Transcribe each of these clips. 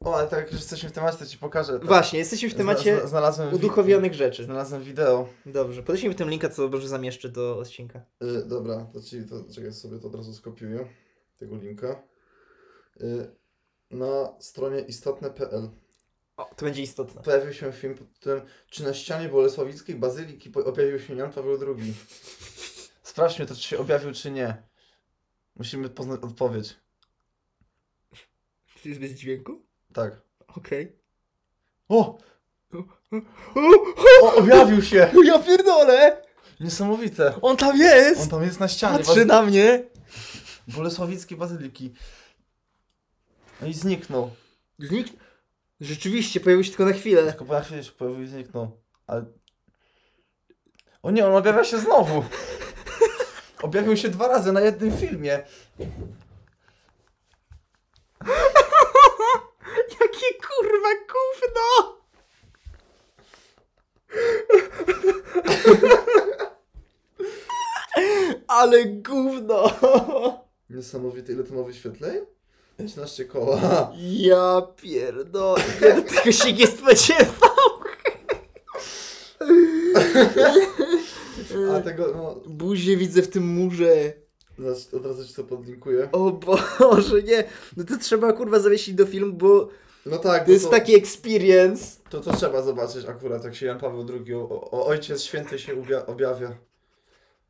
O, ale tak jak już jesteśmy w temacie, to ci pokażę. To. Właśnie, jesteśmy w temacie Zna- znalazłem wi- uduchowionych rzeczy. Znalazłem wideo. Dobrze, podeślij mi tym linka, co dobrze zamieszczę do odcinka. Y, dobra, to ci to, czekaj, sobie to od razu skopiuję. Tego linka. Y, na stronie istotne.pl O, to będzie istotne. pojawił się film pod tytułem Czy na ścianie bolesławickiej bazyliki po- objawił się Jan Paweł II? Sprawdźmy to, czy się objawił, czy nie. Musimy poznać odpowiedź. Czy jest bez dźwięku? Tak. Okej. O! Okay. O, objawił się! Ja pierdolę! Niesamowite! On tam On jest! tam jest na ścianie. Patrzy na mnie! Bolesławickie bazyliki. No i zniknął. Znik... Rzeczywiście, pojawił się tylko na chwilę. Tylko po na chwilę się pojawił i zniknął. Ale... O nie, on objawia się znowu! Objawił się dwa razy na jednym filmie. Jakie kurwa gówno! Ale gówno! Niesamowite, ile to ma wyświetleń? 15 koła. Ja pierdolę. Ja do tego się nie spodziewał. Y. A tego, no, Buzie widzę w tym murze. zaraz- od razu ci to podlinkuję. O Boże, nie. No to trzeba kurwa zawiesić do filmu, bo No tak, to bo jest to, taki experience. to, to trzeba zobaczyć akurat, jak się Jan Paweł II, o, o, Ojciec Święty się ubia, objawia.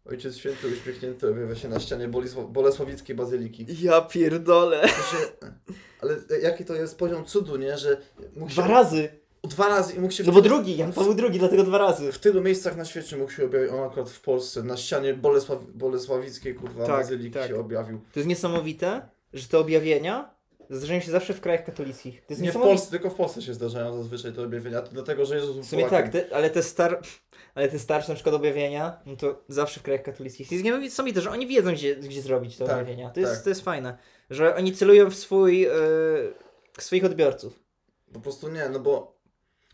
Ojciec Święty uśmiechnięty objawia się na ścianie Bolisław, Bolesławickiej Bazyliki. Ja pierdolę. To się- Ale jaki to jest poziom cudu, nie? Że mógł się, Dwa razy. dwa razy i mógł się No bo drugi, Jan Paweł drugi, dlatego dwa razy. w tylu miejscach na świecie mógł się objawić, on akurat w Polsce, na ścianie Bolesław, Bolesławickiej, kurwa, Tak, Bazyliki tak. się objawił. To jest niesamowite, że te objawienia zdarzają się zawsze w krajach katolickich. To jest Nie w niesamowite. Polsce, tylko w Polsce się zdarzają zazwyczaj te objawienia, to dlatego, że Jezus był W sumie Polakiem. tak, te, ale, te star, ale te starsze na przykład objawienia, no to zawsze w krajach katolickich. To jest niesamowite, że oni wiedzą, gdzie, gdzie zrobić te Tak, objawienia. To jest, tak. to jest fajne, że oni celują w swój, e, w swoich odbiorców. Po prostu nie, no bo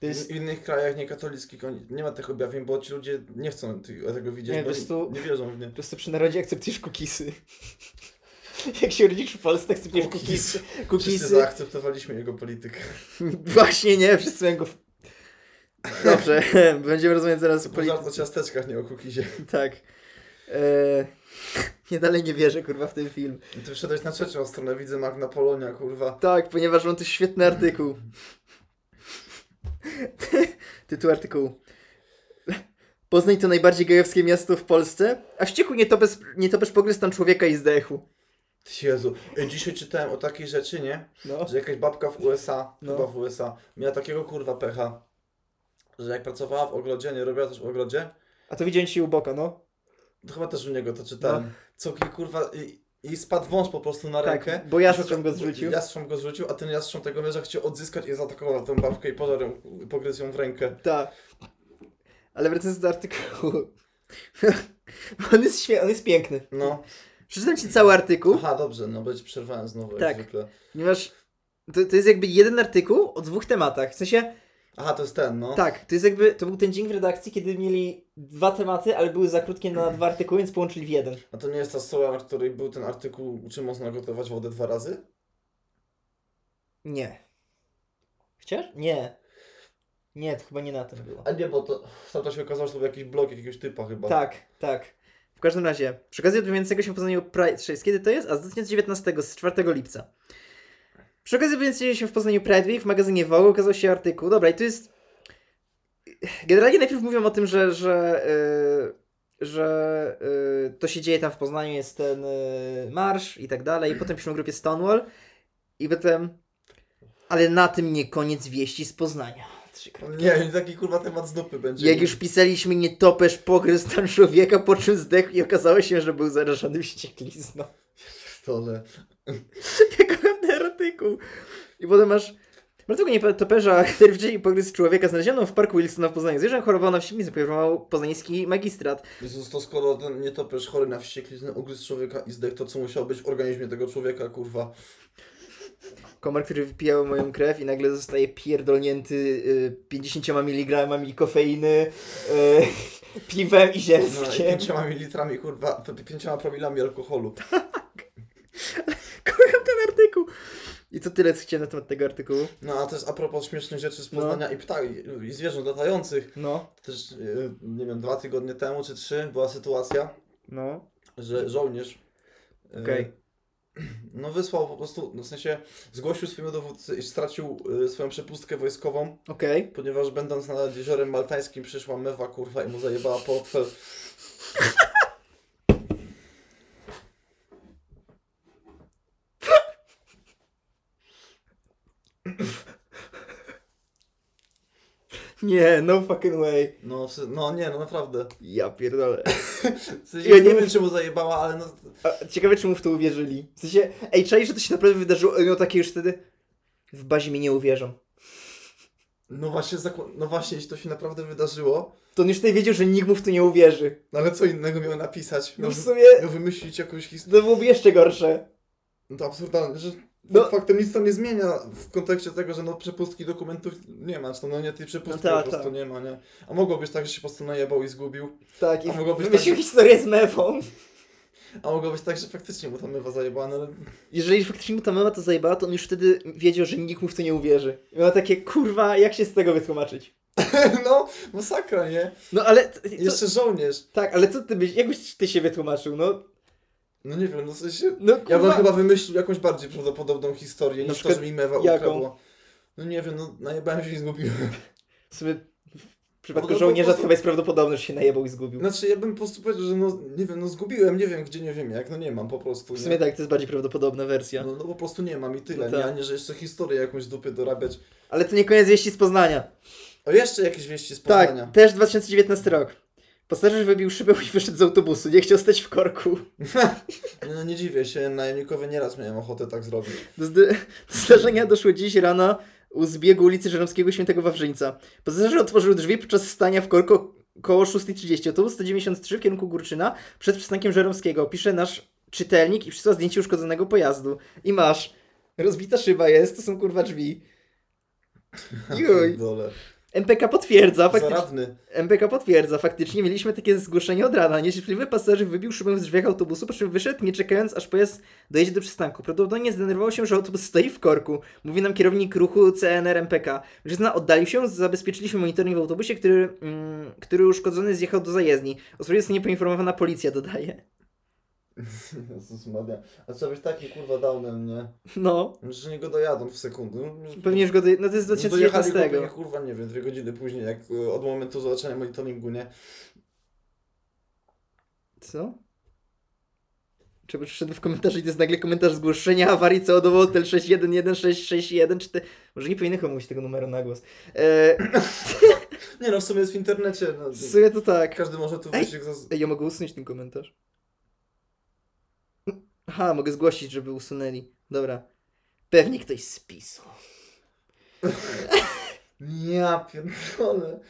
To jest, W innych krajach niekatolickich oni, nie ma tych objawień, bo ci ludzie nie chcą ty- tego widzieć, Nie, bo po prostu- nie wierzą w nie. po prostu przy narodzie akceptujesz kukisy. Jak się rodzisz w Polsce, akceptujesz kukisy. Wszyscy kukisy. zaakceptowaliśmy jego politykę. Właśnie nie, wszyscy mają go... w- Dobrze, będziemy rozmawiać zaraz o Tylko polityce. żart o ciasteczkach, nie o kukizie. Tak. Eee, nie dalej nie wierzę, kurwa, w ten film. I Ty wszedłeś na trzecią stronę, widzę Magna Polonia, kurwa. Tak, ponieważ mam tu świetny artykuł. Tytuł artykułu. Poznań to najbardziej gejowskie miasto w Polsce, a wściekł nietoperz, nietoperz pogryzł tam człowieka i zdechł. Ty Jezu, Ej, dzisiaj czytałem o takiej rzeczy, nie? No. Że jakaś babka w USA, No. chyba w USA, miała takiego kurwa pecha, że jak pracowała w ogrodzie, nie robiła też w ogrodzie, A to widziałem ci u boka, no. to chyba też u niego to czytałem. Co ki- kurwa... I, i spadł wąż po prostu na Tak, rękę. bo jastrząb go zrzucił. Jastrząb go zrzucił, a ten jastrząb tego męża chciał odzyskać i zaatakował tą babkę i pożarł, ją- pogryzł ją w rękę. Tak. Ale wracając do artykułu. on, jest świe- on jest piękny. No. Przeczytam ci cały artykuł. Aha, dobrze, no bo ci przerwałem znowu Tak. jak zwykle. Ponieważ to, to jest jakby jeden artykuł o dwóch tematach. W sensie, Aha, to jest ten, no. tak, to jest jakby, to był ten dzień w redakcji, kiedy mieli dwa tematy, ale były za krótkie na dwa artykuły, więc połączyli w jeden. A to nie jest ta stoła, na której był ten artykuł, czy można gotować wodę dwa razy? Nie. Chcesz? Nie. Nie, to chyba nie na tym było. A nie, bo to tam to się okazało, że to był jakiś blog jakiegoś typa chyba. Tak, tak. W każdym razie, przy okazji odbywającego się w Poznaniu Pride, czy jest- kiedy to jest? A z 2019, z 4 lipca. Przy okazji odbywającego się w Poznaniu Pride Week w magazynie Vogue okazał się artykuł, dobra i tu jest... Generalnie najpierw mówią o tym, że, że, yy, że yy, to się dzieje tam w Poznaniu, jest ten yy, marsz i tak dalej, potem piszą o grupie Stonewall i potem... Ale na tym nie koniec wieści z Poznania. Trzy kropki. O No Nie, taki kurwa temat z dupy będzie. Jak już pisaliśmy, nietoperz pogryzł tam człowieka, po czym zdechł i okazało się, że był zarażony wścieklizną. Tole. Jak ten artykuł. I potem masz martwego nietoperza, który wcześniej pogryzł człowieka, znaleziono w parku Wilsona w Poznaniu. Zwierzę chorowało na wścieklizny, poinformował poznański magistrat. Jezus, to skoro ten nietoperz chory na wściekliznę ugryzł człowieka i zdech, to co musiało być w organizmie tego człowieka, kurwa. Komar, który wypijał moją krew i nagle zostaje pierdolnięty y, 50 mg kofeiny, y, piwem i No, i zielskiem. pięcioma mililitrami, kurwa, pięcioma promilami alkoholu. Kocham ten artykuł. I to tyle, co chciałem na temat tego artykułu. No a też a propos śmiesznych rzeczy z No. Poznania i ptak i zwierząt latających. No, Też, yy, nie wiem, dwa tygodnie temu czy trzy była sytuacja, no. że żołnierz yy, Okej. no wysłał po prostu, no w sensie zgłosił swojemu dowódcy, iż stracił yy, swoją przepustkę wojskową, Okej. ponieważ będąc nad jeziorem maltańskim przyszła mewa kurwa i mu zajebała portfel. Nie, no fucking way. No, w sen- no nie, no naprawdę. Ja pierdolę. W sensie, ja Ja nie nie wiem, wiem czy mu zajebała, ale no A, ciekawe, czy mu w to uwierzyli. W sensie, ej, czaj, że to się naprawdę wydarzyło. No takie już wtedy. W bazie mi nie uwierzą. No właśnie, zakła- no właśnie, jeśli to się naprawdę wydarzyło, To on już wtedy wiedział, że nikt mu w to nie uwierzy. no ale co innego miał napisać? No Miał, w wy- sumie miał wymyślić jakąś historię. to byłoby jeszcze gorsze. No to absurdalne, że No. no. faktem nic to nie zmienia w kontekście tego, że no przepustki dokumentów nie ma, czy tam, no nie tej przepustki No tak, po prostu tak. nie ma, nie? A mogło być tak, że się po prostu najebał i zgubił, Tak, i A mogło być wymyślił historię z mewą. a mogło być tak, że faktycznie mu tam mywa zajebała, no ale Jeżeli faktycznie mu ta mewa to zajebała, to on już wtedy wiedział, że nikt mu w to nie uwierzy. I miał takie, kurwa, jak się z tego wytłumaczyć? no, masakra, nie? No ale... t- Co, Jeszcze żołnierz, Tak, ale co ty byś... Jakbyś ty się wytłumaczył, no? no nie wiem, no w sensie... No Ja kurwa... bym chyba wymyślił jakąś bardziej prawdopodobną historię Na niż to, przykład że mi mewa jaką? ukradła. No nie wiem, no najebałem się i zgubiłem. W sumie w przypadku No to po żołnierza to prostu- chyba jest prawdopodobne, że się najebał i zgubił. Znaczy, ja bym po prostu powiedział, że no, nie wiem, no zgubiłem, nie wiem gdzie, nie wiem jak, no nie mam po prostu. W nie? sumie tak, to jest bardziej prawdopodobna wersja. No, no po prostu nie mam i tyle, No nie, tak. a nie, że jeszcze historię jakąś z dupy dorabiać. Ale to nie koniec wieści z Poznania. O, jeszcze jakieś wieści z Poznania. Tak, też 2019 rok. Pasażer wybił szybę i wyszedł z autobusu. Nie chciał stać w korku. No nie dziwię się, najemnikowie nieraz miałem ochotę tak zrobić. Do, zdy- do zdarzenia doszło dziś rano u zbiegu ulicy Żeromskiego Świętego Wawrzyńca. Pasażer otworzył drzwi podczas stania w korku koło 6.30. Autobus 193 w kierunku Górczyna przed przystankiem Żeromskiego. Pisze nasz czytelnik i przysłał zdjęcie uszkodzonego pojazdu. I masz. Rozbita szyba jest, to są kurwa drzwi. Juj. Dole. MPK potwierdza, faktycznie. Zaradny. MPK potwierdza, faktycznie mieliśmy takie zgłoszenie od rana. Niecierpliwy pasażer wybił szybę z drzwiach autobusu, po czym wyszedł, nie czekając, aż pojazd dojedzie do przystanku. Prawdopodobnie zdenerwował się, że autobus stoi w korku. Mówi nam kierownik ruchu CNR MPK. Mężczyzna oddalił się, zabezpieczyliśmy monitoring w autobusie, który, mm, który uszkodzony zjechał do zajezdni. O sprawie jest niepoinformowana policja, dodaje. Jezus Maria. A trzeba być takim kurwa downem, nie? No, Że nie go dojadą w sekundę. pewnie już go... Do... No to jest z No dojechali go 2019. pewnie, kurwa, nie wiem, dwie godziny później, jak y, od momentu zobaczenia monitoringu, nie? Co? Czy przyszedł w komentarzu i to jest nagle komentarz zgłoszenia awarii co do Hotel 6116661 czy te... Może nie powinienem chyba mówić tego numeru na głos. Eee, Nie no, w sumie jest w internecie, no, w sumie to tak. każdy może tu wyjść jak zas- Ej, ja mogę usunąć ten komentarz. Aha, mogę zgłosić, żeby usunęli. Dobra. Pewnie ktoś spisł. Ja pierdolę.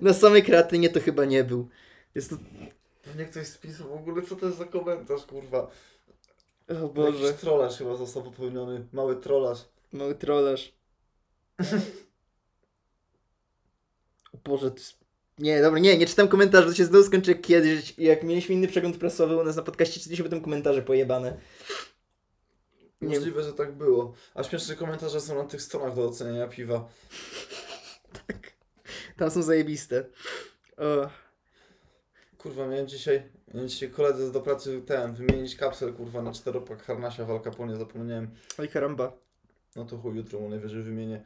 Na samej kreatynie to chyba nie był. Jest to... Pewnie ktoś spisał w ogóle, co to jest za komentarz, kurwa. O Jakiś Boże, trollaż chyba został popełniony. Mały trollaż. mały trollaż. O Boże, to jest... Nie, dobra, nie, nie czytam komentarzy, to się znowu skończy kiedyś. Jak mieliśmy inny przegląd prasowy u nas na podcaście, czytaliśmy potem komentarze pojebane. Nie. Możliwe, że tak było. A śmieszne komentarze są na tych stronach do oceniania piwa. Tak. Tam są zajebiste. O, Kurwa, miałem dzisiaj, miałem dzisiaj koledze do pracy ten, wymienić kapsel, kurwa, na czteropak harnasia w Al Capone, zapomniałem. oj karamba. No to chuj, jutro mu najwyżej wymienię.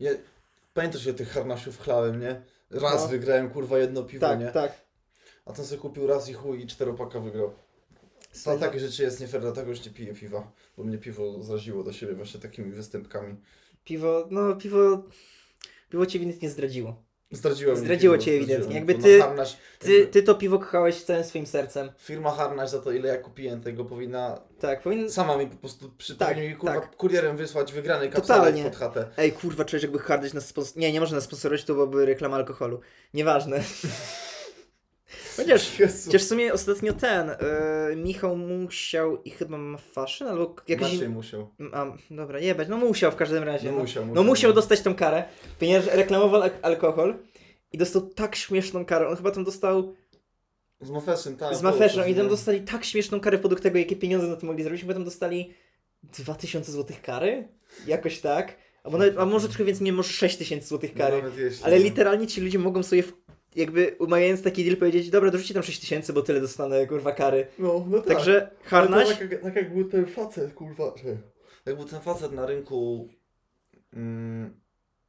Ja... Pamiętasz, że tych harnasiów chlałem, nie? Raz No. wygrałem, kurwa, jedno piwo, nie? Tak, tak. A ten sobie kupił raz i chuj i czteropaka wygrał. Na tak- takie rzeczy jest nie fair, dlatego już nie piję piwa. Bo mnie piwo zraziło do siebie właśnie takimi występkami. Piwo, no piwo... Piwo cię ewidentnie zdradziło. Zdradziło, mnie Zdradziło piwo, cię zdradziło ewidentnie. mnie Jakby to. ty- No, harnaś, Ty, jakby ty to piwo kochałeś całym swoim sercem. Firma Harnaś za to, ile ja kupiłem tego, powinna Tak, powinien... sama mi po prostu przy Tak, tak, mi kurwa, tak. kurierem wysłać wygrany Totalnie. kapselek pod chatę. Ej, kurwa, czujesz jakby Hardyś nas sponsorować. Nie, nie można nas sponsorować, to byłaby reklama alkoholu. Nieważne. Chociaż, Jezu. chociaż w sumie ostatnio ten, y, Michał musiał i chyba ma fashion, albo k- jakiś... Maciej musiał. A, dobra, jebać, no musiał w każdym razie. Znaczy- No No, musiał, no musiał. musiał dostać tą karę, ponieważ reklamował al- alkohol i dostał tak śmieszną karę. On chyba tam dostał Z mafeszem, tak. z było mafeszą coś, i tam nie? dostali tak śmieszną karę podług tego, jakie pieniądze na to mogli zrobić, bo tam dostali 2000 zł kary? Jakoś tak. A, bo nawet, a może trochę więcej, nie może 6000 zł kary. Nawet jeśli, Ale no. literalnie ci ludzie mogą sobie, w- jakby umawiając taki deal, powiedzieć: Dobra, dorzućcie tam 6000, bo tyle dostanę kurwa kary. No, no tak. Także Ale to harnaś. Tak, jak- tak jak był ten facet, kurwa. że- Jak był ten facet na rynku. Mm,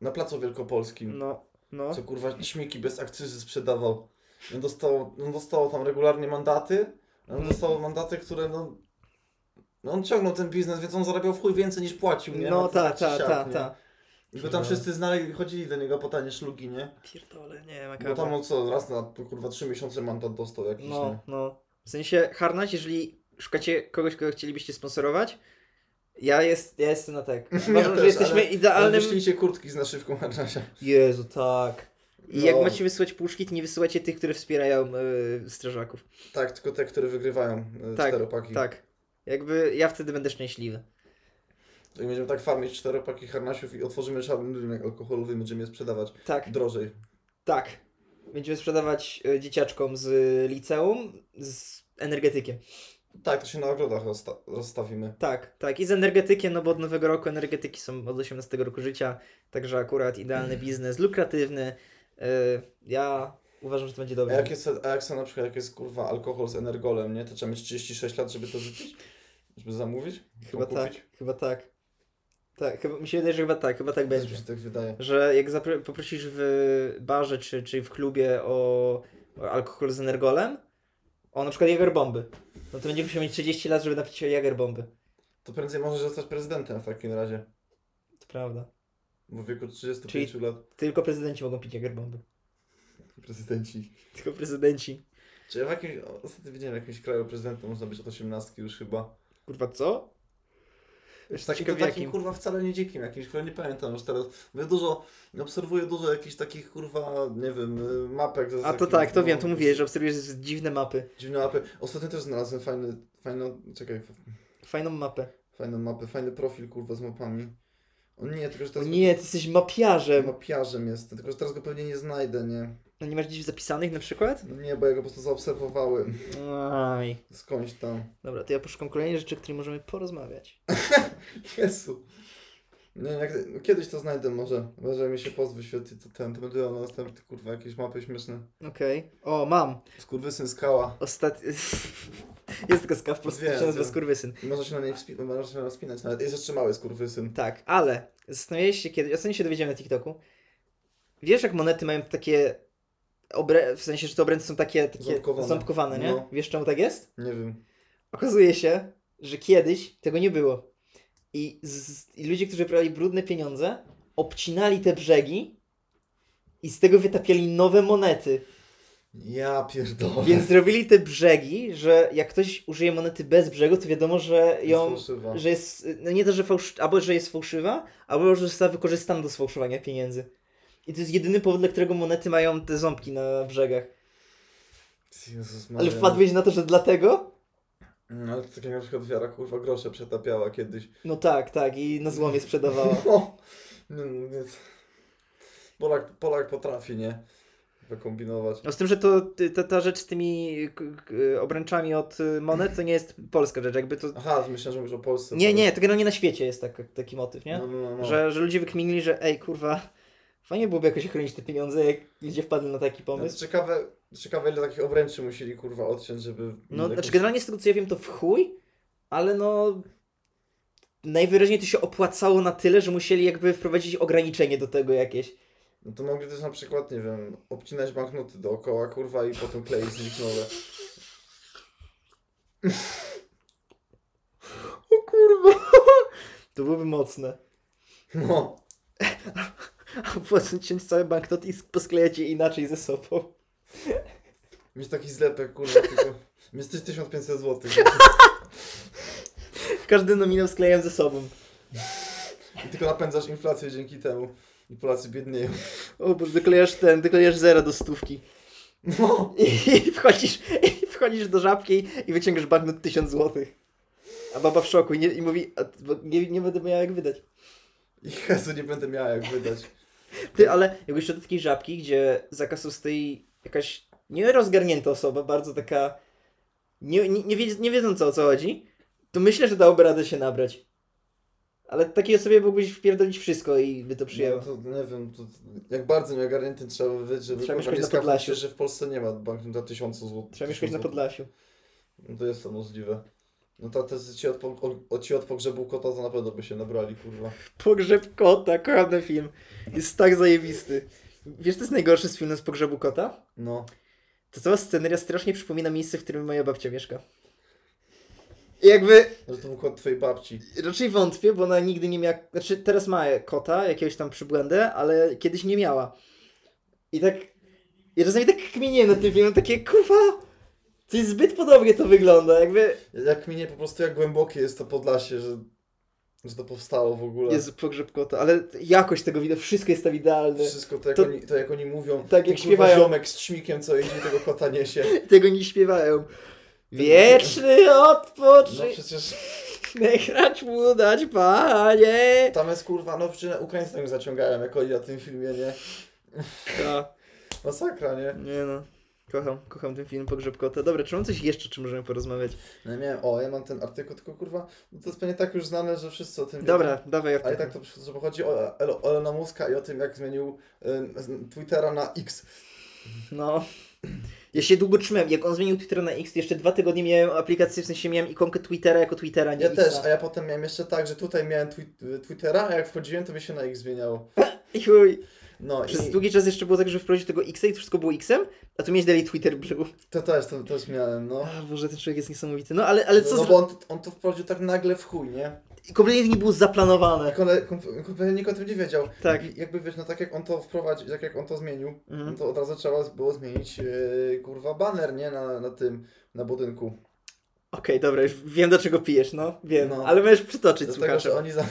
na placu wielkopolskim. No, no. Co kurwa śmieki bez akcyzy sprzedawał. On dostał, on dostał tam regularnie mandaty. On Mhm. dostał mandaty, które no. No on ciągnął ten biznes, więc on zarabiał w chuj więcej niż płacił, nie? No, Na ta, ten ta, siak, ta, nie? ta. No. I go tam wszyscy znali, chodzili do niego po tanie szlugi, nie? Pierdolę, nie, Bo tam on co, raz na kurwa trzy miesiące mandat dostał jakiś, nie? No, no. W sensie harnać, jeżeli szukacie kogoś, kogo chcielibyście sponsorować, ja, jest, ja jestem na tak. Uważam, że też, jesteśmy ale- Ale idealnym. wyślijcie kurtki z naszywką Harnasia. Jezu, tak. I jak No. macie wysłać puszki, to nie wysyłacie tych, które wspierają yy, strażaków. Tak, tylko te, które wygrywają e, Tak, czteropaki. Tak. Jakby ja wtedy będę szczęśliwy. To i będziemy tak farmić czteropaki harnasiów i otworzymy szarny rynek alkoholowy i będziemy je sprzedawać Tak, drożej. tak. Będziemy sprzedawać y, dzieciaczkom z y, liceum z energetykiem. Tak, to się na ogrodach rozsta- rozstawimy. Tak, tak. I z energetykiem, no bo od nowego roku energetyki są od 18 roku życia, także akurat idealny Mhm. biznes, lukratywny. Y, ja uważam, że to A będzie dobre. jak, jest, a jak są na przykład, jak jest kurwa alkohol z energolem, nie? To trzeba mieć 36 lat, żeby to wypić? Żeby zamówić? Chyba tak, kupić? chyba tak. Tak, chyba, mi się wydaje, że chyba tak, chyba tak Też będzie. mi się tak wydaje. Że jak zapro- poprosisz w barze czy, czy w klubie o, o alkohol z energolem, o na przykład jagerbomby, no to będzie musiał mieć 30 lat, żeby napić się jagerbomby. To prędzej możesz zostać prezydentem w takim razie. To prawda. Bo w wieku 35 lat Tylko prezydenci mogą pić jagerbomby. prezydenci. Tylko prezydenci. Czy ja w jakimś, ostatnio widziałem w jakimś kraju prezydentem można być od 18 już chyba. Kurwa, co? Już tak Takim, to takim kurwa wcale nie dzikim jakimś, chyba nie pamiętam już teraz. Bo dużo, obserwuję dużo jakichś takich kurwa, nie wiem, y, mapek. ze- z A to jakimś, tak, to no, wiem, to mówiłeś, że obserwujesz dziwne mapy. Dziwne mapy. Ostatnio też znalazłem fajny, fajną, czekaj, f- Fajną mapę. fajną mapę, fajny profil kurwa z mapami. O nie, tylko że O teraz nie, ty jesteś mapiarzem. mapiarzem jestem, tylko że teraz go pewnie nie znajdę, nie? No nie masz gdzieś zapisanych na przykład? No nie, bo ja go po prostu zaobserwowałem Aj. skądś tam. Dobra, to ja poszukam kolejnej rzeczy, o której możemy porozmawiać. Jezu. Nie wiem, jak, no kiedyś to znajdę może. Może mi się post wyświetli, to ten, to będę miał na następny, kurwa, jakieś mapy śmieszne. Okej. O, mam. Skurwysyn skała. Ostat... Jest taka skaw, po prostu Wiem, się nazywa wiem. skurwysyn. I Można się na niej wspi- można się na nią wspinać nawet. Jest jeszcze mały skurwysyn. Tak, ale zastanawiałeś się kiedy, ostatnio się dowiedziałem na TikToku. Wiesz, jak monety mają takie, obrę... w sensie, że te obręcze są takie, takie Ząbkowane. ząbkowane. nie? No. Wiesz, czemu tak jest? Nie wiem. Okazuje się, że kiedyś tego nie było. I, z... I ludzie, którzy brali brudne pieniądze, obcinali te brzegi i z tego wytapiali nowe monety. Ja pierdolę. Więc zrobili te brzegi, że jak ktoś użyje monety bez brzegu, to wiadomo, że Jest ją fałszywa. że jest, no nie to, że fałsz, albo że jest fałszywa, albo że została wykorzystana do sfałszowania pieniędzy. I to jest jedyny powód, dla którego monety mają te ząbki na brzegach. Jezus Ale Maria. wpadłeś na to, że dlatego? No, ale to tak jak na przykład wiara kurwa grosze przetapiała kiedyś. No tak, tak, i na złomie sprzedawała. No, no, no, więc... Polak, Polak potrafi, nie? Wykombinować. No z tym, że to, ty- ta, ta rzecz z tymi k- k- obręczami od y, monet to nie jest polska rzecz, jakby to... Aha, myślę, że mówisz o Polsce. Nie, teraz. nie, to generalnie na świecie jest tak, taki motyw, nie? No, no, no, no. Że, że ludzie wykminili, że ej, kurwa, fajnie byłoby jakoś chronić te pieniądze, jak ludzie wpadli na taki No, to pomysł. ciekawe, ciekawe, ile takich obręczy musieli kurwa odciąć, żeby. No, jakoś- znaczy generalnie z tego co ja wiem to w chuj, ale no najwyraźniej to się opłacało na tyle, że musieli jakby wprowadzić ograniczenie do tego jakieś. No to mogli też na przykład, nie wiem, obcinać banknoty dookoła, kurwa, i potem kleić z nich nowe. O kurwa! To byłoby mocne. No. Opłacić cały banknot i posklejać je inaczej ze sobą. Mieć taki zlepek, kurwa, tylko. Mieć coś 1500 zł. Każdy nominał sklejam ze sobą. I tylko napędzasz inflację dzięki temu. I Polacy biednieją. O Boże, doklejasz ten, doklejasz zera do stówki. No. I wchodzisz, i wchodzisz do żabki i wyciągasz banknot 1000 złotych. A baba w szoku i, nie, i mówi, a, bo nie, nie będę miała jak wydać. Jezu, nie będę miała jak wydać. Ty, ale jakbyś szedł do takiej żabki, gdzie za kasą stoi jakaś nierozgarnięta osoba, bardzo taka nie, nie, nie, wiedz, nie wiedząca o co chodzi, to myślę, że dałoby radę się nabrać. Ale takiej osobie mógłbyś wpierdolić wszystko i by to przyjęło. No, to, nie wiem, to, jak bardzo nieogarnięty trzeba by być, żeby Trzeba kurwa mieszkać nie na skapnąć Podlasiu. się, że w Polsce nie ma bankruta 1000 zł. Trzeba mieszkać na Podlasiu. No to jest to możliwe. No to, to ci, od, po- o- o, ci od pogrzebu kota to na pewno by się nabrali, kurwa. Pogrzeb kota, kocham ten film. Jest tak zajebisty. Wiesz, co jest najgorszy z filmem z pogrzebu kota? No. To cała sceneria strasznie przypomina miejsce, w którym moja babcia mieszka. I jakby Że to był kot twojej babci. raczej wątpię, bo ona nigdy nie miała. Znaczy, teraz ma kota, jakiegoś tam przybłędę, ale kiedyś nie miała. I tak. Ja czasami tak kminię nad tym filmem, takie kurwa. Coś zbyt podobnie to wygląda, jakby. Jak minie po prostu jak głębokie jest to Podlasie, że, że to powstało w ogóle. Jezu, pogrzeb kota, ale jakość tego wideo, wszystko jest tam idealne. Wszystko to jak, To- Oni, to jak oni mówią, Tak, ty, jak kurwa, śpiewają. ziomek z trzmikiem, co idzie i tego kota niesie. Tego nie śpiewają. Wieczny No odpoczynek, przecież No. grać mu dać, panie. tam jest kurwa, no przecież Ukraińców tak zaciągałem, jak oni na tym filmie, nie? No, Masakra, nie? nie no. Kocham, kocham ten film Pogrzeb Kota. Dobra, czy mam coś jeszcze, czy możemy porozmawiać? No ja miałem, o, ja mam ten artykuł, tylko kurwa, no to jest pewnie tak już znane, że wszyscy o tym wiedzą. Dobra, dawaj Ale i Artur. tak to przychodzę, bo chodzi o El- o Elona Muska i o tym, jak zmienił ym, z- Twittera na X. No. Ja się długo trzymałem. Jak on zmienił Twittera na X, jeszcze dwa tygodnie miałem aplikację, w sensie miałem ikonkę Twittera jako Twittera, nie Ja Xa. też, a ja potem miałem jeszcze tak, że tutaj miałem twi- Twittera, a jak wchodziłem, to mi się na X zmieniało. I chuj. No Przez i długi czas jeszcze było tak, że wprowadził tego Xa i wszystko było Xem, a tu miałeś dalej Twitter Blue. to też, to też miałem, no. A Boże, ten człowiek jest niesamowity. No ale, ale co no, z... bo on, on to wprowadził tak nagle w chuj, nie? Kompletnie nie było zaplanowane. Kole- kom- Kompletnie nikt o tym nie wiedział. Tak. I jakby wiesz, no tak jak on to wprowadził, tak jak on to zmienił, Mhm. no to od razu trzeba było zmienić yy, kurwa baner, nie? Na, na tym, na budynku. Okej, dobra, już wiem do czego pijesz, no. Wiem, No. ale możesz przytoczyć Dlatego, słuchacze. że oni, za,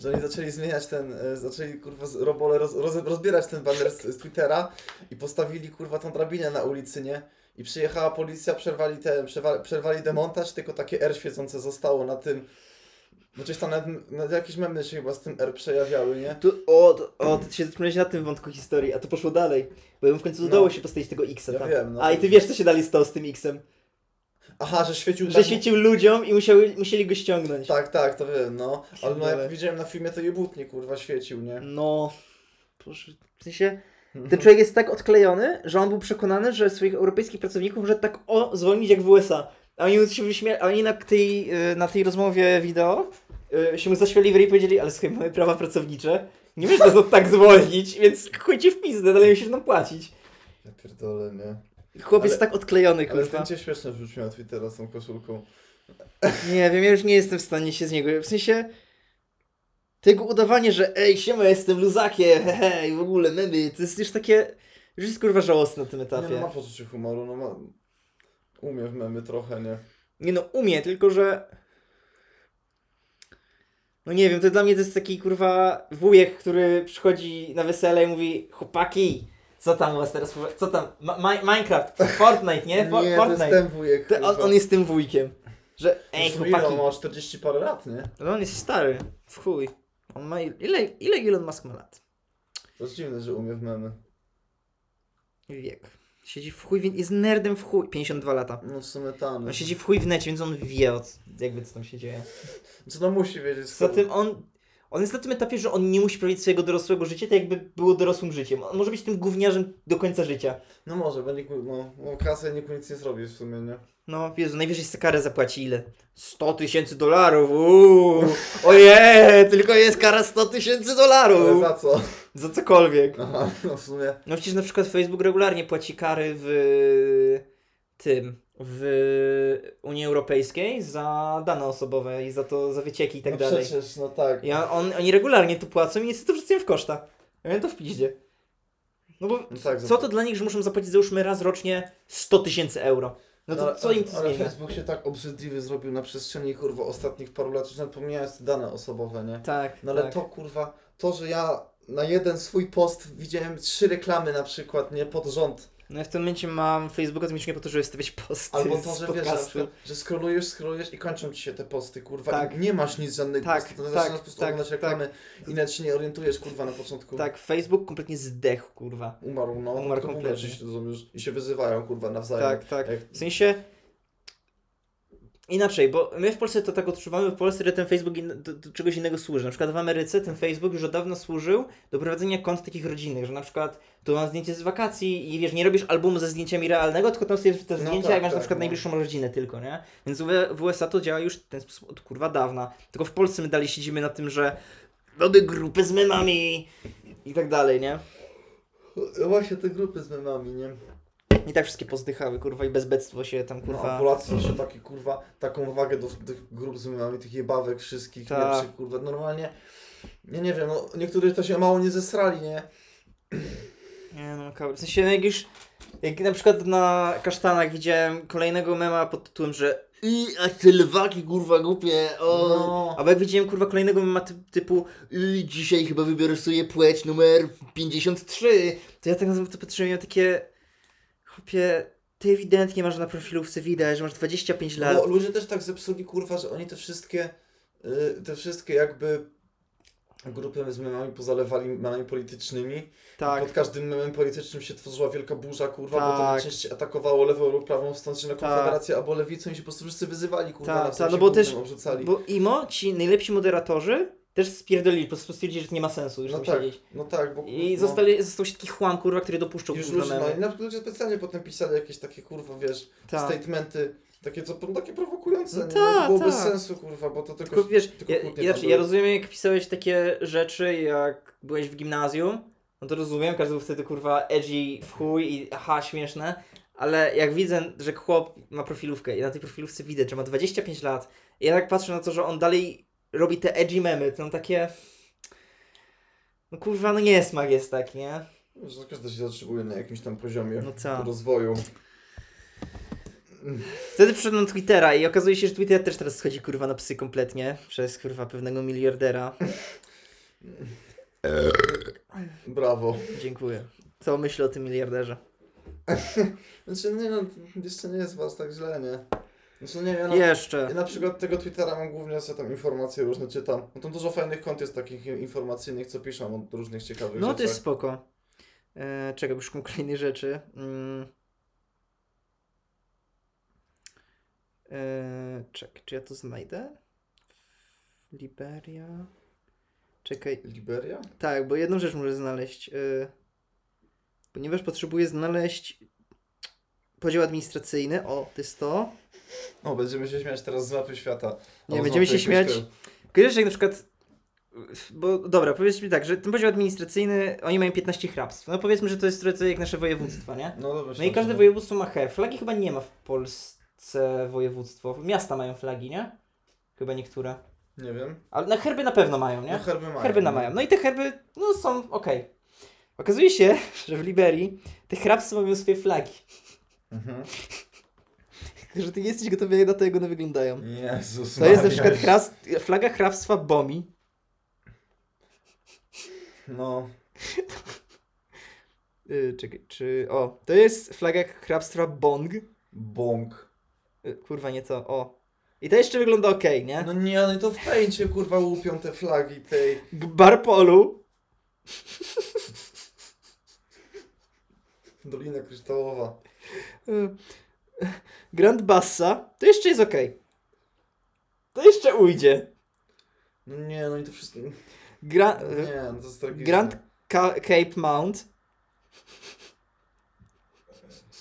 że oni zaczęli zmieniać ten, e, zaczęli kurwa z robole roz, roz, rozbierać ten baner z, z Twittera i postawili kurwa tą drabinę na ulicy, nie? I przyjechała policja, przerwali, ten, przerwa, przerwali demontaż, tylko takie R świecące zostało na tym. Bo gdzieś tam nawet, m- nawet jakieś memy się chyba z tym R przejawiały, nie? Tu, o, to- o, ty się zatrzymałeś na tym wątku historii, a to poszło dalej. Bo im w końcu No. udało się postawić tego Xa Ja tam. wiem, no. A i ty wiesz co się dalej stało z tym Xem. Aha, że świecił Że tak- świecił ludziom i musiały, musieli go ściągnąć. Tak, tak, to wiem, no. Ale no, Dole. jak widziałem na filmie, to jebutnie kurwa świecił, nie? No. Boże, w sensie. Mhm. Ten człowiek jest tak odklejony, że on był przekonany, że swoich europejskich pracowników może tak o zwolnić jak w USA. A oni się wyśmiali, a oni na tej, y, na tej rozmowie wideo y, się mu zaśmiali w ryj i powiedzieli, ale słuchaj, mamy prawa pracownicze, nie możesz nas od tak zwolnić, więc chuj ci w pizdę, dalej musisz nam płacić. Ja pierdolę, nie? Chłop Ale- jest tak odklejony, Ale kurwa. zdjęcie śmieszne wrzucił na Twittera z tą koszulką. Nie wiem, ja już nie jestem w stanie się z niego, w sensie... Tego udawanie, że ej, siema, jestem luzakiem, hej, w ogóle memy, to jest już takie... Już jest kurwa żałosne na tym etapie. Nie, no ma poczucie humoru, no ma... Umie w memy trochę, nie? Nie no, umie, tylko że. No nie wiem, to dla mnie to jest taki kurwa wujek, który przychodzi na wesele i mówi: Chłopaki, co tam u was teraz? Co tam? Ma- Ma- Minecraft, Fortnite, nie? Fo- nie, to jest Fortnite. ten wujek. To on, kurwa. on jest tym wujkiem. Że. Ej, Już Milo chłopaki. ma 40 parę lat, nie? No on jest stary, w chuj. On ma. il- Ile, ile Elon Musk ma lat? To jest dziwne, że umie w memy. Wiek. Siedzi w chuj, więc jest nerdem w chuj. 52 lata. No w sumie tam. On siedzi w chuj w necie, więc on wie, od, jakby co tam się dzieje. Co no musi wiedzieć? Poza skoro- tym on, on jest na tym etapie, że on nie musi prowadzić swojego dorosłego życia, tak jakby było dorosłym życiem. On może być tym gówniarzem do końca życia. No może, bo nikt, no, no kasę nikt nic nie zrobi w sumie, nie? No, Jezu, najwyżej sobie karę zapłaci ile? 100 tysięcy dolarów, uuu. Ojej, tylko jest kara 100 tysięcy Ale dolarów. za co? Za cokolwiek. Aha, no w sumie. No przecież na przykład Facebook regularnie płaci kary w tym, w Unii Europejskiej za dane osobowe i za to, za wycieki i tak no dalej. przecież, no tak. I on, on, oni regularnie to płacą i niestety to wrzucają w koszta. Ja miałem to w piździe. No bo No tak, co to dla nich, że muszą zapłacić załóżmy raz rocznie 100 tysięcy euro? No to Ale- co im to Ale zmienia? Facebook się tak obrzydliwy zrobił na przestrzeni kurwa ostatnich paru lat, że pomijając te dane osobowe, nie? Tak, No ale tak. to kurwa, to, że ja na jeden swój post widziałem trzy reklamy na przykład, nie pod rząd. No ja w tym momencie mam Facebooka zmienicznie po to, żeby stawiać posty Albo to, z że wiesz, że, na podcastu. przykład, że scrollujesz, scrollujesz i kończą ci się te posty, kurwa. Tak. I nie masz nic żadnego Tak, postu, to tak, zaczynasz po prostu tak, oglądać tak. reklamy i nawet się nie orientujesz, kurwa, na początku. Tak, Facebook kompletnie zdechł, kurwa. Umarł, no. Umarł tylko kompletnie. Tak. Się, rozumiesz, I się wyzywają, kurwa, nawzajem. Tak, tak. Jak, W sensie inaczej, bo my w Polsce to tak odczuwamy, w Polsce, że ten Facebook in, do, do czegoś innego służy. Na przykład w Ameryce ten Facebook już od dawna służył do prowadzenia kont takich rodzinnych, że na przykład tu mam zdjęcie z wakacji i wiesz, nie robisz albumu ze zdjęciami realnego, tylko tam sobie te No zdjęcia tak, jak masz na tak, no. przykład najbliższą rodzinę tylko, nie? Więc w- w USA to działa już w ten sposób od kurwa dawna. Tylko w Polsce my dalej siedzimy na tym, że mamy grupy z memami i tak dalej, nie? No właśnie te grupy z memami, nie? I tak wszystkie pozdychały, kurwa, i bezbectwo się tam, Kurwa. No, kurwa... a Polacy jeszcze taki kurwa, taką wagę do tych grup z memami, tych jebawek wszystkich, Tak. lepszych, kurwa, normalnie. Nie, nie wiem, no niektórzy to się mało nie zesrali, nie? Nie no, kabry. W sensie jak już, jak na przykład na kasztanach widziałem kolejnego mema pod tytułem, że i a te lwaki kurwa głupie, o. No. Albo jak widziałem kurwa kolejnego mema ty, typu i dzisiaj chyba wybiorę sobie płeć numer 53, to ja tak na to patrzyłem i miałem takie, chłopie, ty ewidentnie masz na profilówce widać, że masz 25 lat. Bo ludzie też tak zepsuli, kurwa, że oni te wszystkie, y, te wszystkie jakby grupy z memami pozalewali memami politycznymi. tak. Pod każdym memem politycznym się tworzyła wielka burza, kurwa, bo to Tak. najczęściej atakowało lewą lub prawą stąd się na konfederację albo lewicą i się po prostu wszyscy wyzywali, kurwa, Tak, nawzajem tak, no się bo też- głównym obrzucali. Bo IMO, ci najlepsi moderatorzy też spierdolili, po prostu stwierdzili, że to nie ma sensu już No tam tak, siedzieć. no tak, bo I no, zostali, został się taki chłam kurwa, który dopuszczał już kurwa ludzie, memy. no, i na przykład ludzie specjalnie potem pisali jakieś takie, kurwa, wiesz, Tak. statementy, takie co, takie prowokujące, No nie? tak, było bez tak. sensu, kurwa, bo to tylko... Tylko wiesz, tylko ja, kłótnie ja, tam ja były. rozumiem jak pisałeś takie rzeczy, jak byłeś w gimnazjum, no to rozumiem, każdy był wtedy kurwa edgy w chuj i aha, śmieszne, ale jak widzę, że chłop ma profilówkę i na tej profilówce widać, że ma 25 lat i ja tak patrzę na to, że on dalej robi te edgy memy, to mam takie... No kurwa, no nie smak jest tak, nie? Że każdy się zatrzymuje na jakimś tam poziomie No co? rozwoju. Wtedy przyszedłem na Twittera i okazuje się, że Twitter też teraz schodzi kurwa na psy kompletnie przez kurwa pewnego miliardera. Brawo. Dziękuję. Co myślę o tym miliarderze? Znaczy, nie no, jeszcze nie jest was tak źle, nie? Znaczy, nie wiem, ja, na- Jeszcze. ja na przykład tego Twittera mam głównie, że tam informacje różne czytam. No tam dużo fajnych kont jest takich informacyjnych, co piszą o różnych ciekawych No rzeczach. to jest spoko. E, czekam, już kolejne rzeczy. Mm. E, czekaj, czy ja to znajdę? Liberia. Czekaj, Liberia? tak, bo jedną rzecz muszę znaleźć. e, ponieważ potrzebuję znaleźć podział administracyjny. O, to jest to. O, będziemy się śmiać teraz z mapy świata. Albo Nie, z będziemy mapy się śmiać. jakiegoś Kojarzysz jak na przykład, bo dobra, powiedzmy tak, że ten poziom administracyjny, oni mają 15 hrabstw. No powiedzmy, że to jest trochę jak nasze województwa, nie? kraju. No dobra. No i każde województwo ma he. Flagi chyba nie ma w Polsce województwo. Miasta mają flagi, nie? Chyba niektóre. Nie wiem. Ale na herby na pewno mają, nie? No herby mają. Herby na nie? mają. No i te herby, no są okej. Okazuje się, że w Liberii te hrabstwa mają swoje flagi. Mhm. Że ty nie jesteś gotowy na to, jak one wyglądają. Jezus To jest na Maria. przykład hras, flaga hrabstwa Bomi. No. Y, czekaj, czy. O, to jest flaga hrabstwa Bong. Bąk. Y, kurwa, nie to. O. I to jeszcze wygląda ok, nie? No nie, no i to w pęcie kurwa łupią te flagi tej. Gbarpolu. Dolina Kryształowa. Y, Grand Bassa. To jeszcze jest ok. To jeszcze ujdzie. No nie, no i to wszystko. Gra... No y, Nie, no to jest tragiczne. Grand Ka- Cape Mount.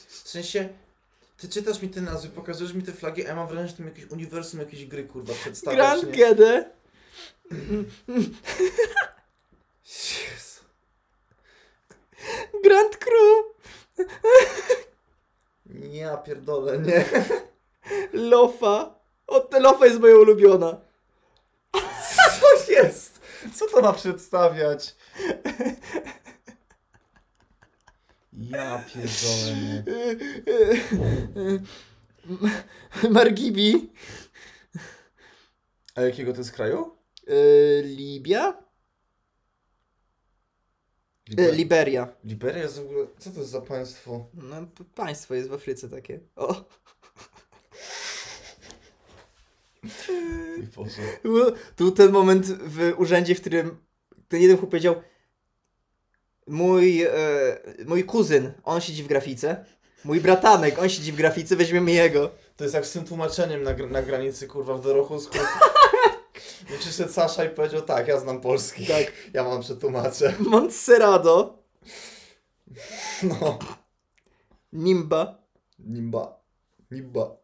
W sensie, ty czytasz mi te nazwy, pokazujesz mi te flagi, a ja mam wrażenie, że tam jakieś uniwersum, jakieś gry, kurwa, przedstawiasz, Grand nie? Gede. Jezu. Grand Cru. Nie, ja pierdolę, nie. Lofa. O, ta Lofa jest moja ulubiona. Co jest? Co to ma przedstawiać? Ja pierdolę, nie. Y, y, y, y, Margibi. A jakiego to jest kraju? Y, Libia? E, Liber... Liberia. Liberia jest w ogóle... Co to jest za państwo? No, p- państwo jest w Afryce takie. O! Oj Boże. Tu ten moment w urzędzie, w którym ten jeden chłop powiedział mój, e, mój kuzyn, on siedzi w grafice. Mój bratanek, on siedzi w grafice, weźmiemy jego. To jest jak z tym tłumaczeniem na, gr- na granicy, kurwa, w Dorochusku. I przyszedł Sasza i powiedział, tak, ja znam polski. Tak. Ja mam przetłumaczę. Montserrado, No. Nimba, Nimba. Nimba.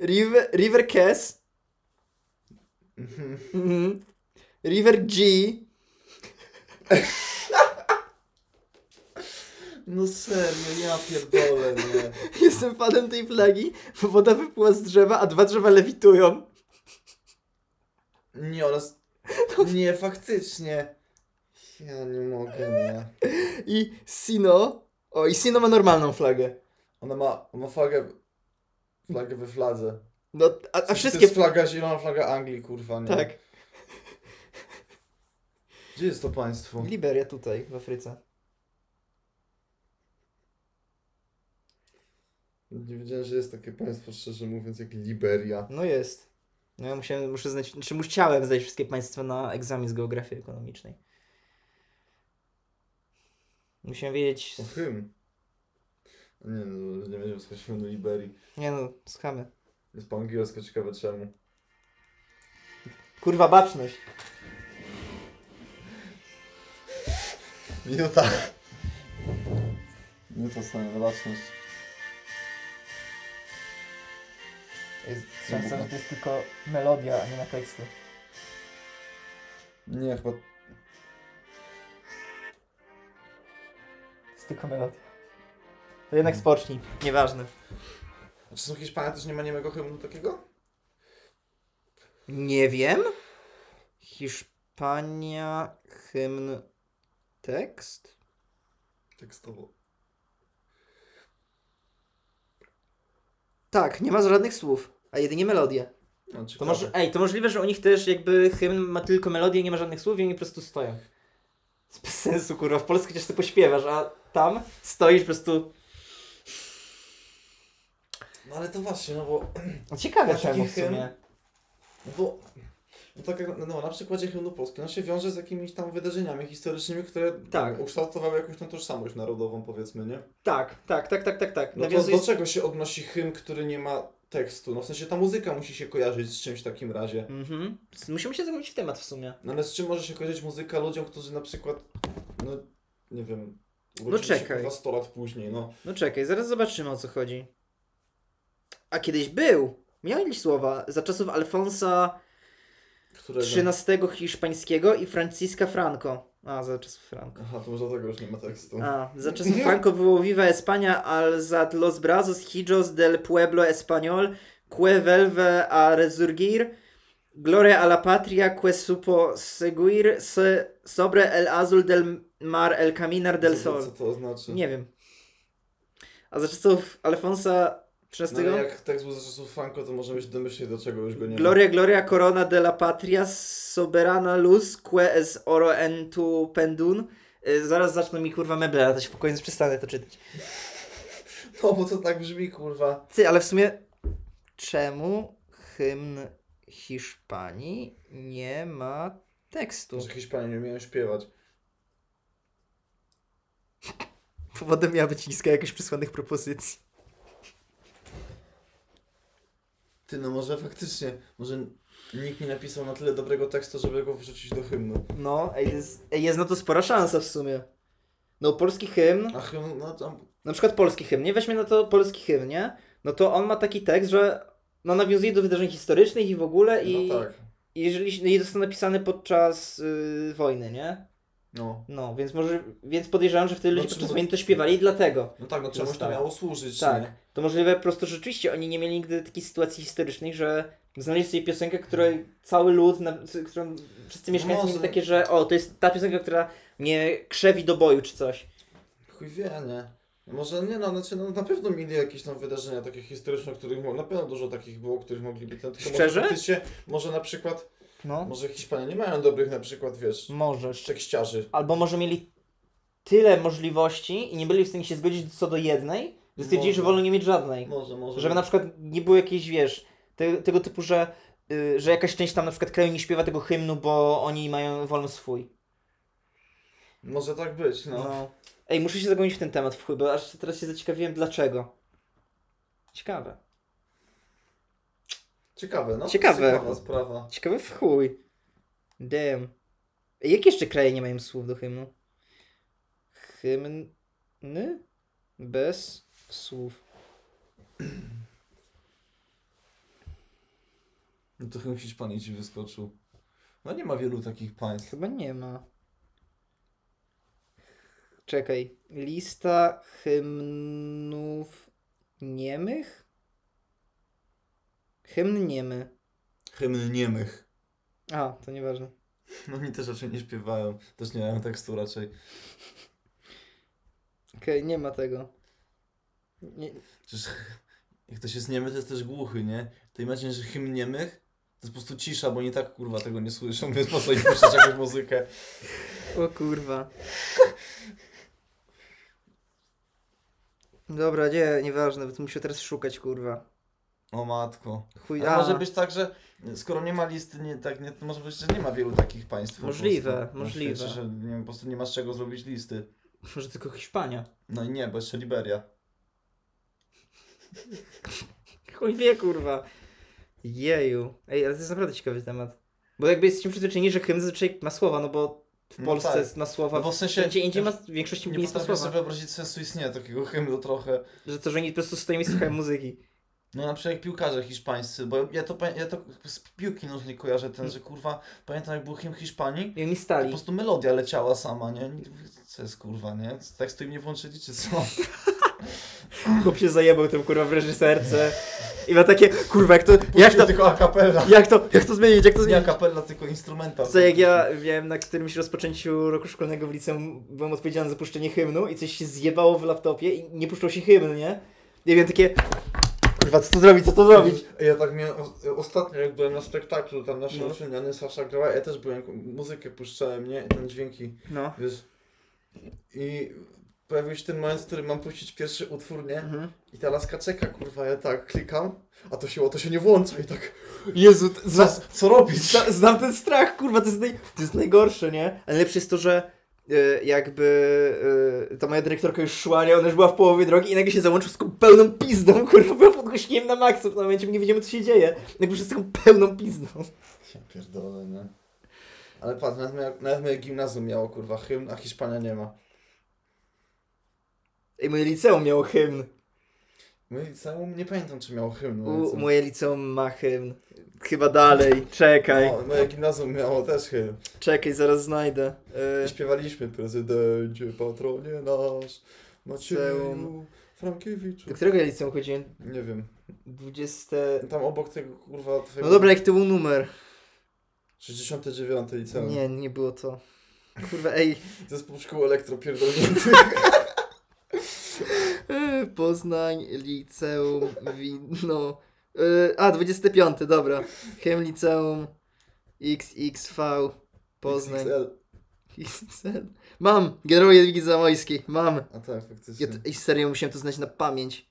River, River Kes, Mhm. mhm. River G, No serio, ja pierdolę, nie. jestem fanem tej flagi, bo woda wypływa z drzewa, a dwa drzewa lewitują. Nie, oraz... Nie, faktycznie. Ja nie mogę, nie. I Sino, o i Sino ma normalną flagę. Ona ma, ma flagę... Flagę we fladze. No, a, a To wszystkie, jest flaga zielona, flaga Anglii, kurwa, nie. tak. Gdzie jest to państwo? Liberia tutaj, w Afryce. Nie wiedziałem, że jest takie państwo, szczerze mówiąc, jak Liberia. No jest. No ja musiałem, muszę znać, czy musiałem zdać wszystkie państwa na egzamin z geografii ekonomicznej. Musiałem wiedzieć. O tym. Nie, no, nie będziemy skończymy do Liberii. Nie no, schamy. Jest po angielsku, ciekawe czemu. Kurwa baczność. Minuta. Minuta stanie na baczność. Jest szansa, że to jest tylko melodia, a nie na teksty. Nie, chyba... Jest tylko melodia. To jednak spocznij. Hmm. Nieważne. A czy są Hiszpania też nie ma niemego hymnu takiego? Nie wiem. Hiszpania, hymn, tekst? Tekstowo. Tak, nie ma żadnych słów, a jedynie melodię. No, To ciekawe. może, ej, to możliwe, że u nich też jakby hymn ma tylko melodię, nie ma żadnych słów i oni po prostu stoją. To Bez sensu, kurwa, w Polsce chociaż sobie pośpiewasz, a tam stoisz po prostu... No ale to właśnie, no bo... No ciekawe Masz czemu taki w sumie. hymn? No bo... No tak jak no, na przykładzie hymnu Polski, no się wiąże z jakimiś tam wydarzeniami historycznymi, które Tak. ukształtowały jakąś tam tożsamość narodową, powiedzmy, nie? Tak, tak, tak, tak, tak, tak. No to Nawiązuje- do czego się odnosi hymn, który nie ma tekstu? No w sensie ta muzyka musi się kojarzyć z czymś w takim razie. Mhm. Musimy się zagłębić w temat w sumie. No ale z czym może się kojarzyć muzyka ludziom, którzy na przykład, no nie wiem, No czekaj. Dwa 100 lat później, no. No czekaj, zaraz zobaczymy o co chodzi. A kiedyś był. Miałeś słowa za czasów Alfonsa Którego... XIII hiszpańskiego i Franciska Franco. A, za czasów Franco. Aha, to może dlatego już nie ma tekstu. A, za czasów Franco było Viva España, al zat los brazos hijos del pueblo español, que velve a resurgir, gloria a la patria, que supo seguir se sobre el azul del mar el caminar del Co- co- sol. Co to znaczy. oznacza? Nie wiem. A za czasów Alfonsa no, XIII? ale jak tekst był ze czasów Franco, to możemy się domyślić, do czego już go nie Gloria, gloria, corona de la patria, soberana luz, que es oro en tu pendun. Y, Zaraz zaczną mi kurwa meble latać w pokoju, więc przestanę to czytać. ma. No bo to tak brzmi, kurwa. Ty, ale w sumie czemu hymn Hiszpanii nie ma tekstu? Może Hiszpanie nie umieją śpiewać. Powodem miała być niska jakość przysłanych propozycji. Ty, no może faktycznie, może nikt nie napisał na tyle dobrego tekstu, żeby go wrzucić do hymnu. No, ej, jest, ej, jest na to spora szansa w sumie. No, polski hymn, A hymn, no tam na przykład polski hymn, nie? Weźmy na to polski hymn, nie? No to on ma taki tekst, że no, nawiązuje do wydarzeń historycznych i w ogóle i, No tak. i jeżeli no, i został napisany podczas y, wojny, nie? No. No, więc może, więc podejrzewam, że wtedy No, ludzie czy podczas mo- wojny to śpiewali i dlatego. No tak, no czemuś to Zostało. miało służyć, Tak, nie? to możliwe po prostu rzeczywiście oni nie mieli nigdy takiej sytuacji historycznej, że znaleźli sobie piosenkę, której cały lud, na, z- którą wszyscy mieszkańcy mieli Może. takie, że o, to jest ta piosenka, która mnie krzewi do boju czy coś. Chuj wie, nie? Może nie, no, znaczy, no na pewno mieli jakieś tam wydarzenia takie historyczne, których mo- na pewno dużo takich było, których mogliby ten... tylko Szczerze? Może, faktycznie- może na przykład, No, może Hiszpanie nie mają dobrych na przykład, wiesz, możesz. szczekściarzy. Albo może mieli tyle możliwości i nie byli w stanie się zgodzić co do jednej, że stwierdzili, że Może. wolą nie mieć żadnej. Może, może. Żeby na przykład nie było jakiejś, wiesz, te, tego typu, że, y, że jakaś część tam na przykład kraju nie śpiewa tego hymnu, bo oni mają wolno swój. Może tak być, no. No. Ej, muszę się zagłębić w ten temat w chuj, bo aż teraz się zaciekawiłem dlaczego. Ciekawe. Ciekawe, no. Ciekawe. Ciekawa sprawa. Ciekawe w chuj. Damn. Ej, Jakie jeszcze kraje nie mają słów do hymnu? Hymny? Bez słów. No to chyba Hiszpanii ci wyskoczył. No nie ma wielu takich państw. Chyba nie ma. Czekaj. Lista hymnów niemych? Hymn niemy. Hymn niemych. A, to nieważne. No oni też raczej nie śpiewają. Też nie mają tekstu raczej. Okej, nie ma tego. Nie, Przecież jak ktoś jest niemy, to jest też głuchy, nie? To imagine, że hymn niemych to jest po prostu cisza, bo nie tak kurwa tego nie słyszą, więc po co im puszczać jakąś muzykę. o kurwa. Dobra, nie, nieważne, bo to muszę teraz szukać, kurwa. O matko. Chuj, A a, może być tak, że skoro nie ma listy, nie, tak, nie, to może być, że nie ma wielu takich państw. po Możliwe, prostu na możliwe. Świecie, że nie, po prostu nie masz czego zrobić listy. może tylko Hiszpania. No i nie, bo jeszcze Liberia. Chuj wie, kurwa. Jeju. Ej, ale to jest naprawdę ciekawy temat. Bo jakby jesteśmy przyzwyczajeni, że hymn zazwyczaj ma słowa, no bo w No Polsce tak. jest ma słowa, No bo w sensie gdzie indziej ma, w większości nie nie jest ma potrafię słowa. sobie wyobrazić sensu istnienia takiego hymnu trochę. Że to, że oni po prostu stoją i słuchają muzyki. No na przykład jak piłkarze hiszpańscy, bo ja to, pa- ja to z piłki nożnej kojarzę Hmm. ten, że kurwa, pamiętam jak był hymn Hiszpanii, I oni to stali. po prostu melodia leciała sama, nie? Co jest kurwa, nie? Tak z tym nie włączyli, czy co? Chłop się zajebał tym kurwa w reżyserce. I ma takie, kurwa, jak to, jak Jak to, tylko a capella. jak to, jak to zmienić, jak to Nie a zmienić? capella, tylko instrumenta. To jak ja wiem na którymś rozpoczęciu roku szkolnego w liceum byłem odpowiedzialny za puszczenie hymnu i coś się zjebało w laptopie i nie puszczał się hymn, nie? I wiem takie, kurwa, co to zrobić, co to zrobić? Ja tak miałem, o- ostatnio jak byłem na spektaklu, tam nasza No. no. uczyniany Sasza grała, ja też byłem, muzykę puszczałem, nie? Ten dźwięki. No. Wiesz. I pojawił się ten moment, w którym mam puścić pierwszy utwór, nie? Mhm. I ta laska czeka, kurwa, ja tak klikam, a to się, a to się nie włącza i tak, Jezu, t- co, zna, co robić? zna, znam ten strach, kurwa, to jest, naj, to jest najgorsze, nie? Ale lepsze jest to, że y, jakby y, ta moja dyrektorka już szła, nie? Ona już była w połowie drogi i nagle się załączył z taką pełną pizdą, kurwa, była pod gośniem na maksa w tym momencie, my nie wiedziemy, co się dzieje. Nagle przez taką pełną pizdą. Ja pierdolę, nie? Ale patrz, nawet moje, nawet moje gimnazjum miało, kurwa, hymn, a Hiszpania nie ma. I moje liceum miało hymn. Moje liceum, nie pamiętam, czy miało hymn. moje U, liceum. moje liceum ma hymn. Chyba dalej, czekaj, No, moje gimnazjum miało też hymn. czekaj, zaraz znajdę. I Y, śpiewaliśmy, prezydencie, patronie nasz, Macieju, Liceum. Frankiewiczu. do którego ja liceum chodziłem? Nie wiem, 20... tam obok tego, kurwa, twojego... No dobra, jak to był numer? 69 liceum. Nie, nie było to. Kurwa, ej, Zespół szkół elektropierdolnięty. e, Poznań, liceum, widno. E, A, 25, dobra. Chem liceum, XXV, Poznań. XXL. XXL. Mam, generał Jadwigi Zamojski, mam. A tak, Ja faktycznie. to, I serio musiałem to znać na pamięć.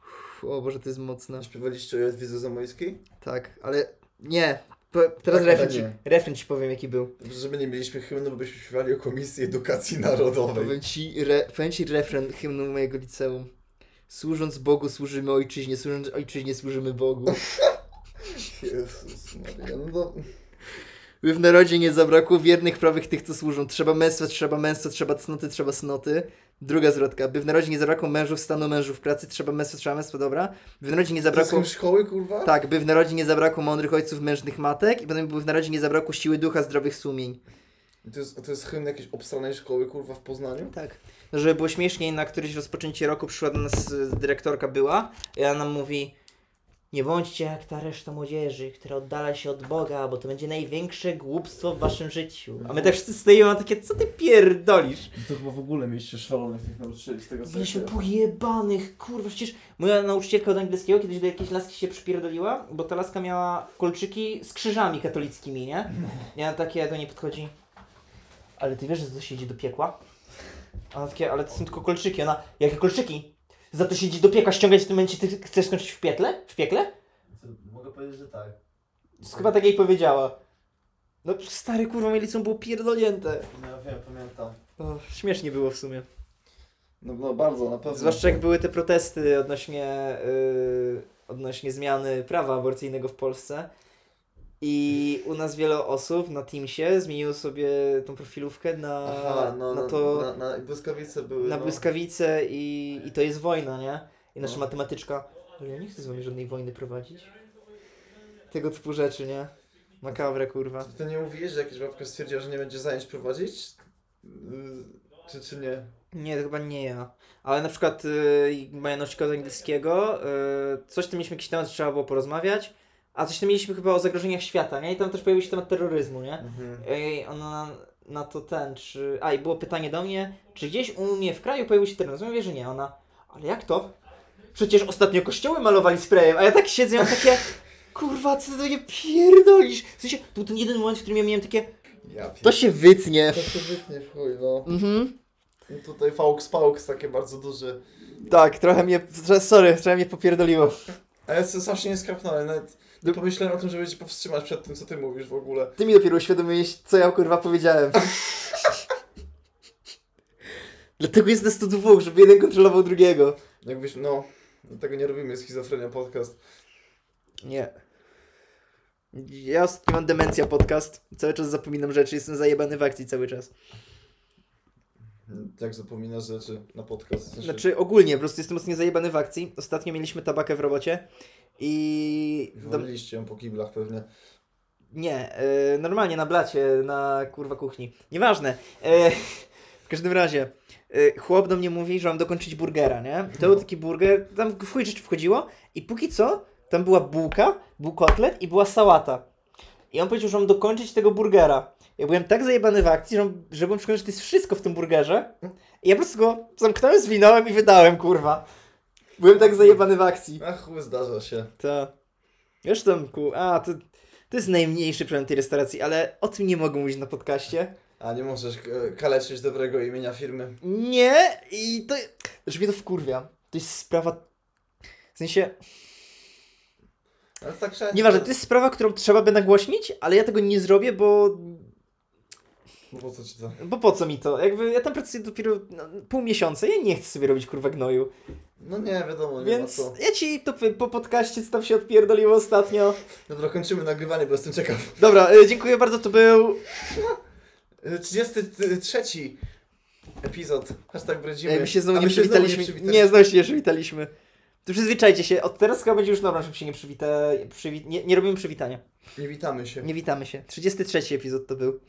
Uff, O Boże, to jest mocne. Śpiewaliście o Jadwidze Zamojskiej? Tak, ale nie. Po, teraz Tak, ale refren ci, nie. refren ci powiem jaki był. Żeby nie mieliśmy hymnu, bo byśmy śpiewali o Komisji Edukacji Narodowej. Powiem ci, re, powiem ci refren hymnu mojego liceum. Służąc Bogu służymy ojczyźnie, służąc ojczyźnie służymy Bogu. Jezus Maria, no to... By w narodzie nie zabrakło wiernych, prawych tych, co służą. Trzeba męstwa, trzeba męstwa, trzeba cnoty, trzeba cnoty. Druga zwrotka. By w narodzie nie zabrakło mężów stanu, mężów pracy. Trzeba męstwa, trzeba męstwa, dobra. By w narodzie nie zabrakło... Zabrakło szkoły, kurwa? Tak, by w narodzie nie zabrakło mądrych ojców, mężnych matek i potem by w narodzie nie zabrakło siły ducha, zdrowych sumień. To jest, to jest hymn jakiejś obstranej szkoły, kurwa, w Poznaniu? Tak. Żeby było śmieszniej, na któreś rozpoczęcie roku przyszła do nas y, dyrektorka była i ona nam mówi nie bądźcie jak ta reszta młodzieży, która oddala się od Boga, bo to będzie największe głupstwo w waszym życiu. A my tak wszyscy stoimy a takie, co ty pierdolisz? To chyba w ogóle mieliście szalonych tych nauczycieli z tego Mieliśmy pojebanych, kurwa, przecież moja nauczycielka od angielskiego kiedyś do jakiejś laski się przypierdoliła, bo ta laska miała kolczyki z krzyżami katolickimi, nie? Ja takie do niej podchodzi, ale ty wiesz, że za to się idzie do piekła? A Ona takie, ale to są tylko kolczyki. Ona, jakie kolczyki? Za to się idzie do piekła ściągać w tym momencie, ty chcesz skończyć w piekle? W piekle? Mogę powiedzieć, że tak. Chyba tak jej powiedziała. No stary kurwa, mieli było pierdolnięte. No ja wiem, pamiętam. śmiesznie było w sumie. No, no bardzo, na pewno. Zwłaszcza jak były te protesty odnośnie, yy, odnośnie zmiany prawa aborcyjnego w Polsce. I u nas wiele osób na Teamsie zmieniło sobie tą profilówkę na, Aha, no, na na, to na, na błyskawice były. na no. błyskawice i, i to jest wojna, nie? I nasza No. matematyczka. Ale ja nie chcę z wami żadnej wojny prowadzić. Tego typu rzeczy, nie? Makabra, kurwa. Ty, ty nie mówisz, że jakaś babka stwierdziła, że nie będzie zajęć prowadzić? Yy, Czy, czy nie? Nie, to chyba nie ja. Ale na przykład y, moja nauczycielka z angielskiego, y, coś tam mieliśmy jakiś temat, że trzeba było porozmawiać, a coś tam mieliśmy chyba o zagrożeniach świata, nie? I tam też pojawił się temat terroryzmu, nie? Mhm. I ona na to ten, czy... A, i było pytanie do mnie, czy gdzieś u mnie w kraju pojawił się terroryzm? Ja mówię, że nie. Ona, ale jak to? Przecież ostatnio kościoły malowali sprayem, a ja tak siedzę i mam takie... Kurwa, co ty do mnie pierdolisz? W sensie, to był ten jeden moment, w którym ja miałem takie... Ja pier... To się wytnie. To się wytnie w chuj, no. Mhm. I tutaj fałks, pałks takie bardzo duże. Tak, trochę mnie... tro- Sorry, trochę mnie popierdoliło. A ja sam się nie skrapnąłem, nawet No- nie pomyślałem o tym, żeby cię powstrzymać przed tym, co ty mówisz w ogóle. Ty mi dopiero uświadomiłeś, co ja kurwa powiedziałem. Dlatego jest nas tu dwóch, żeby jeden kontrolował drugiego. Jakbyś, no, tego nie robimy, schizofrenia podcast. Nie. Ja ostatnio mam demencja podcast. Cały czas zapominam rzeczy, jestem zajebany w akcji cały czas. Jak zapominasz rzeczy na podcast. w sensie- Znaczy ogólnie, po prostu jestem mocno zajebany w akcji. Ostatnio mieliśmy tabakę w robocie i... Do... Waliście ją po kiblach pewnie. Nie, y, normalnie na blacie, na kurwa kuchni. Nieważne. Y, w każdym razie, y, chłop do mnie mówi, że mam dokończyć burgera, nie? To był taki burger, tam w chuj rzeczy wchodziło i póki co tam była bułka, był kotlet i była sałata. I on powiedział, że mam dokończyć tego burgera. Ja byłem tak zajebany w akcji, że, że byłem przekonany, że to jest wszystko w tym burgerze. I ja po prostu go zamknąłem, zwinąłem i wydałem, kurwa. Byłem tak zajebany w akcji. A chuj, zdarza się. To. Już tam ku. A, to, to jest najmniejszy problem tej restauracji, ale o tym nie mogę mówić na podcaście. A nie możesz e, kaleczyć dobrego imienia firmy. Nie! I to. Że mnie to wkurwia. To jest sprawa. W sensie. Ale tak wszędzie. Nieważne, to jest sprawa, którą trzeba by nagłośnić, ale ja tego nie zrobię, bo. No po co ci to? Bo po co mi to? Jakby ja tam pracuję dopiero no, pół miesiąca, ja nie chcę sobie robić kurwa gnoju. No nie, wiadomo, nie Więc ma co. ja ci to powiem po podcaście, co tam się odpierdoliło ostatnio. Dobra, kończymy nagrywanie, bo jestem ciekaw. Dobra, y, dziękuję bardzo, to był. E, 33 epizod. Hashtag bredzimy. My się A znowu nie my się znowu przywitaliśmy. Nie, znowu się nie przywitaliśmy. To przyzwyczajcie się, od teraz chyba będzie już norma, żeby się nie przywita... Przywi... Nie, nie robimy przywitania. Nie witamy się. Nie witamy się. 33 epizod to był.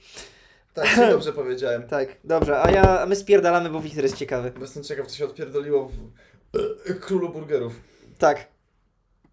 Tak, się dobrze powiedziałem. Tak, dobrze, a ja, a my spierdalamy, bo Wiktor jest ciekawy. Bo jestem ciekaw, co się odpierdoliło w e, królu burgerów. Tak.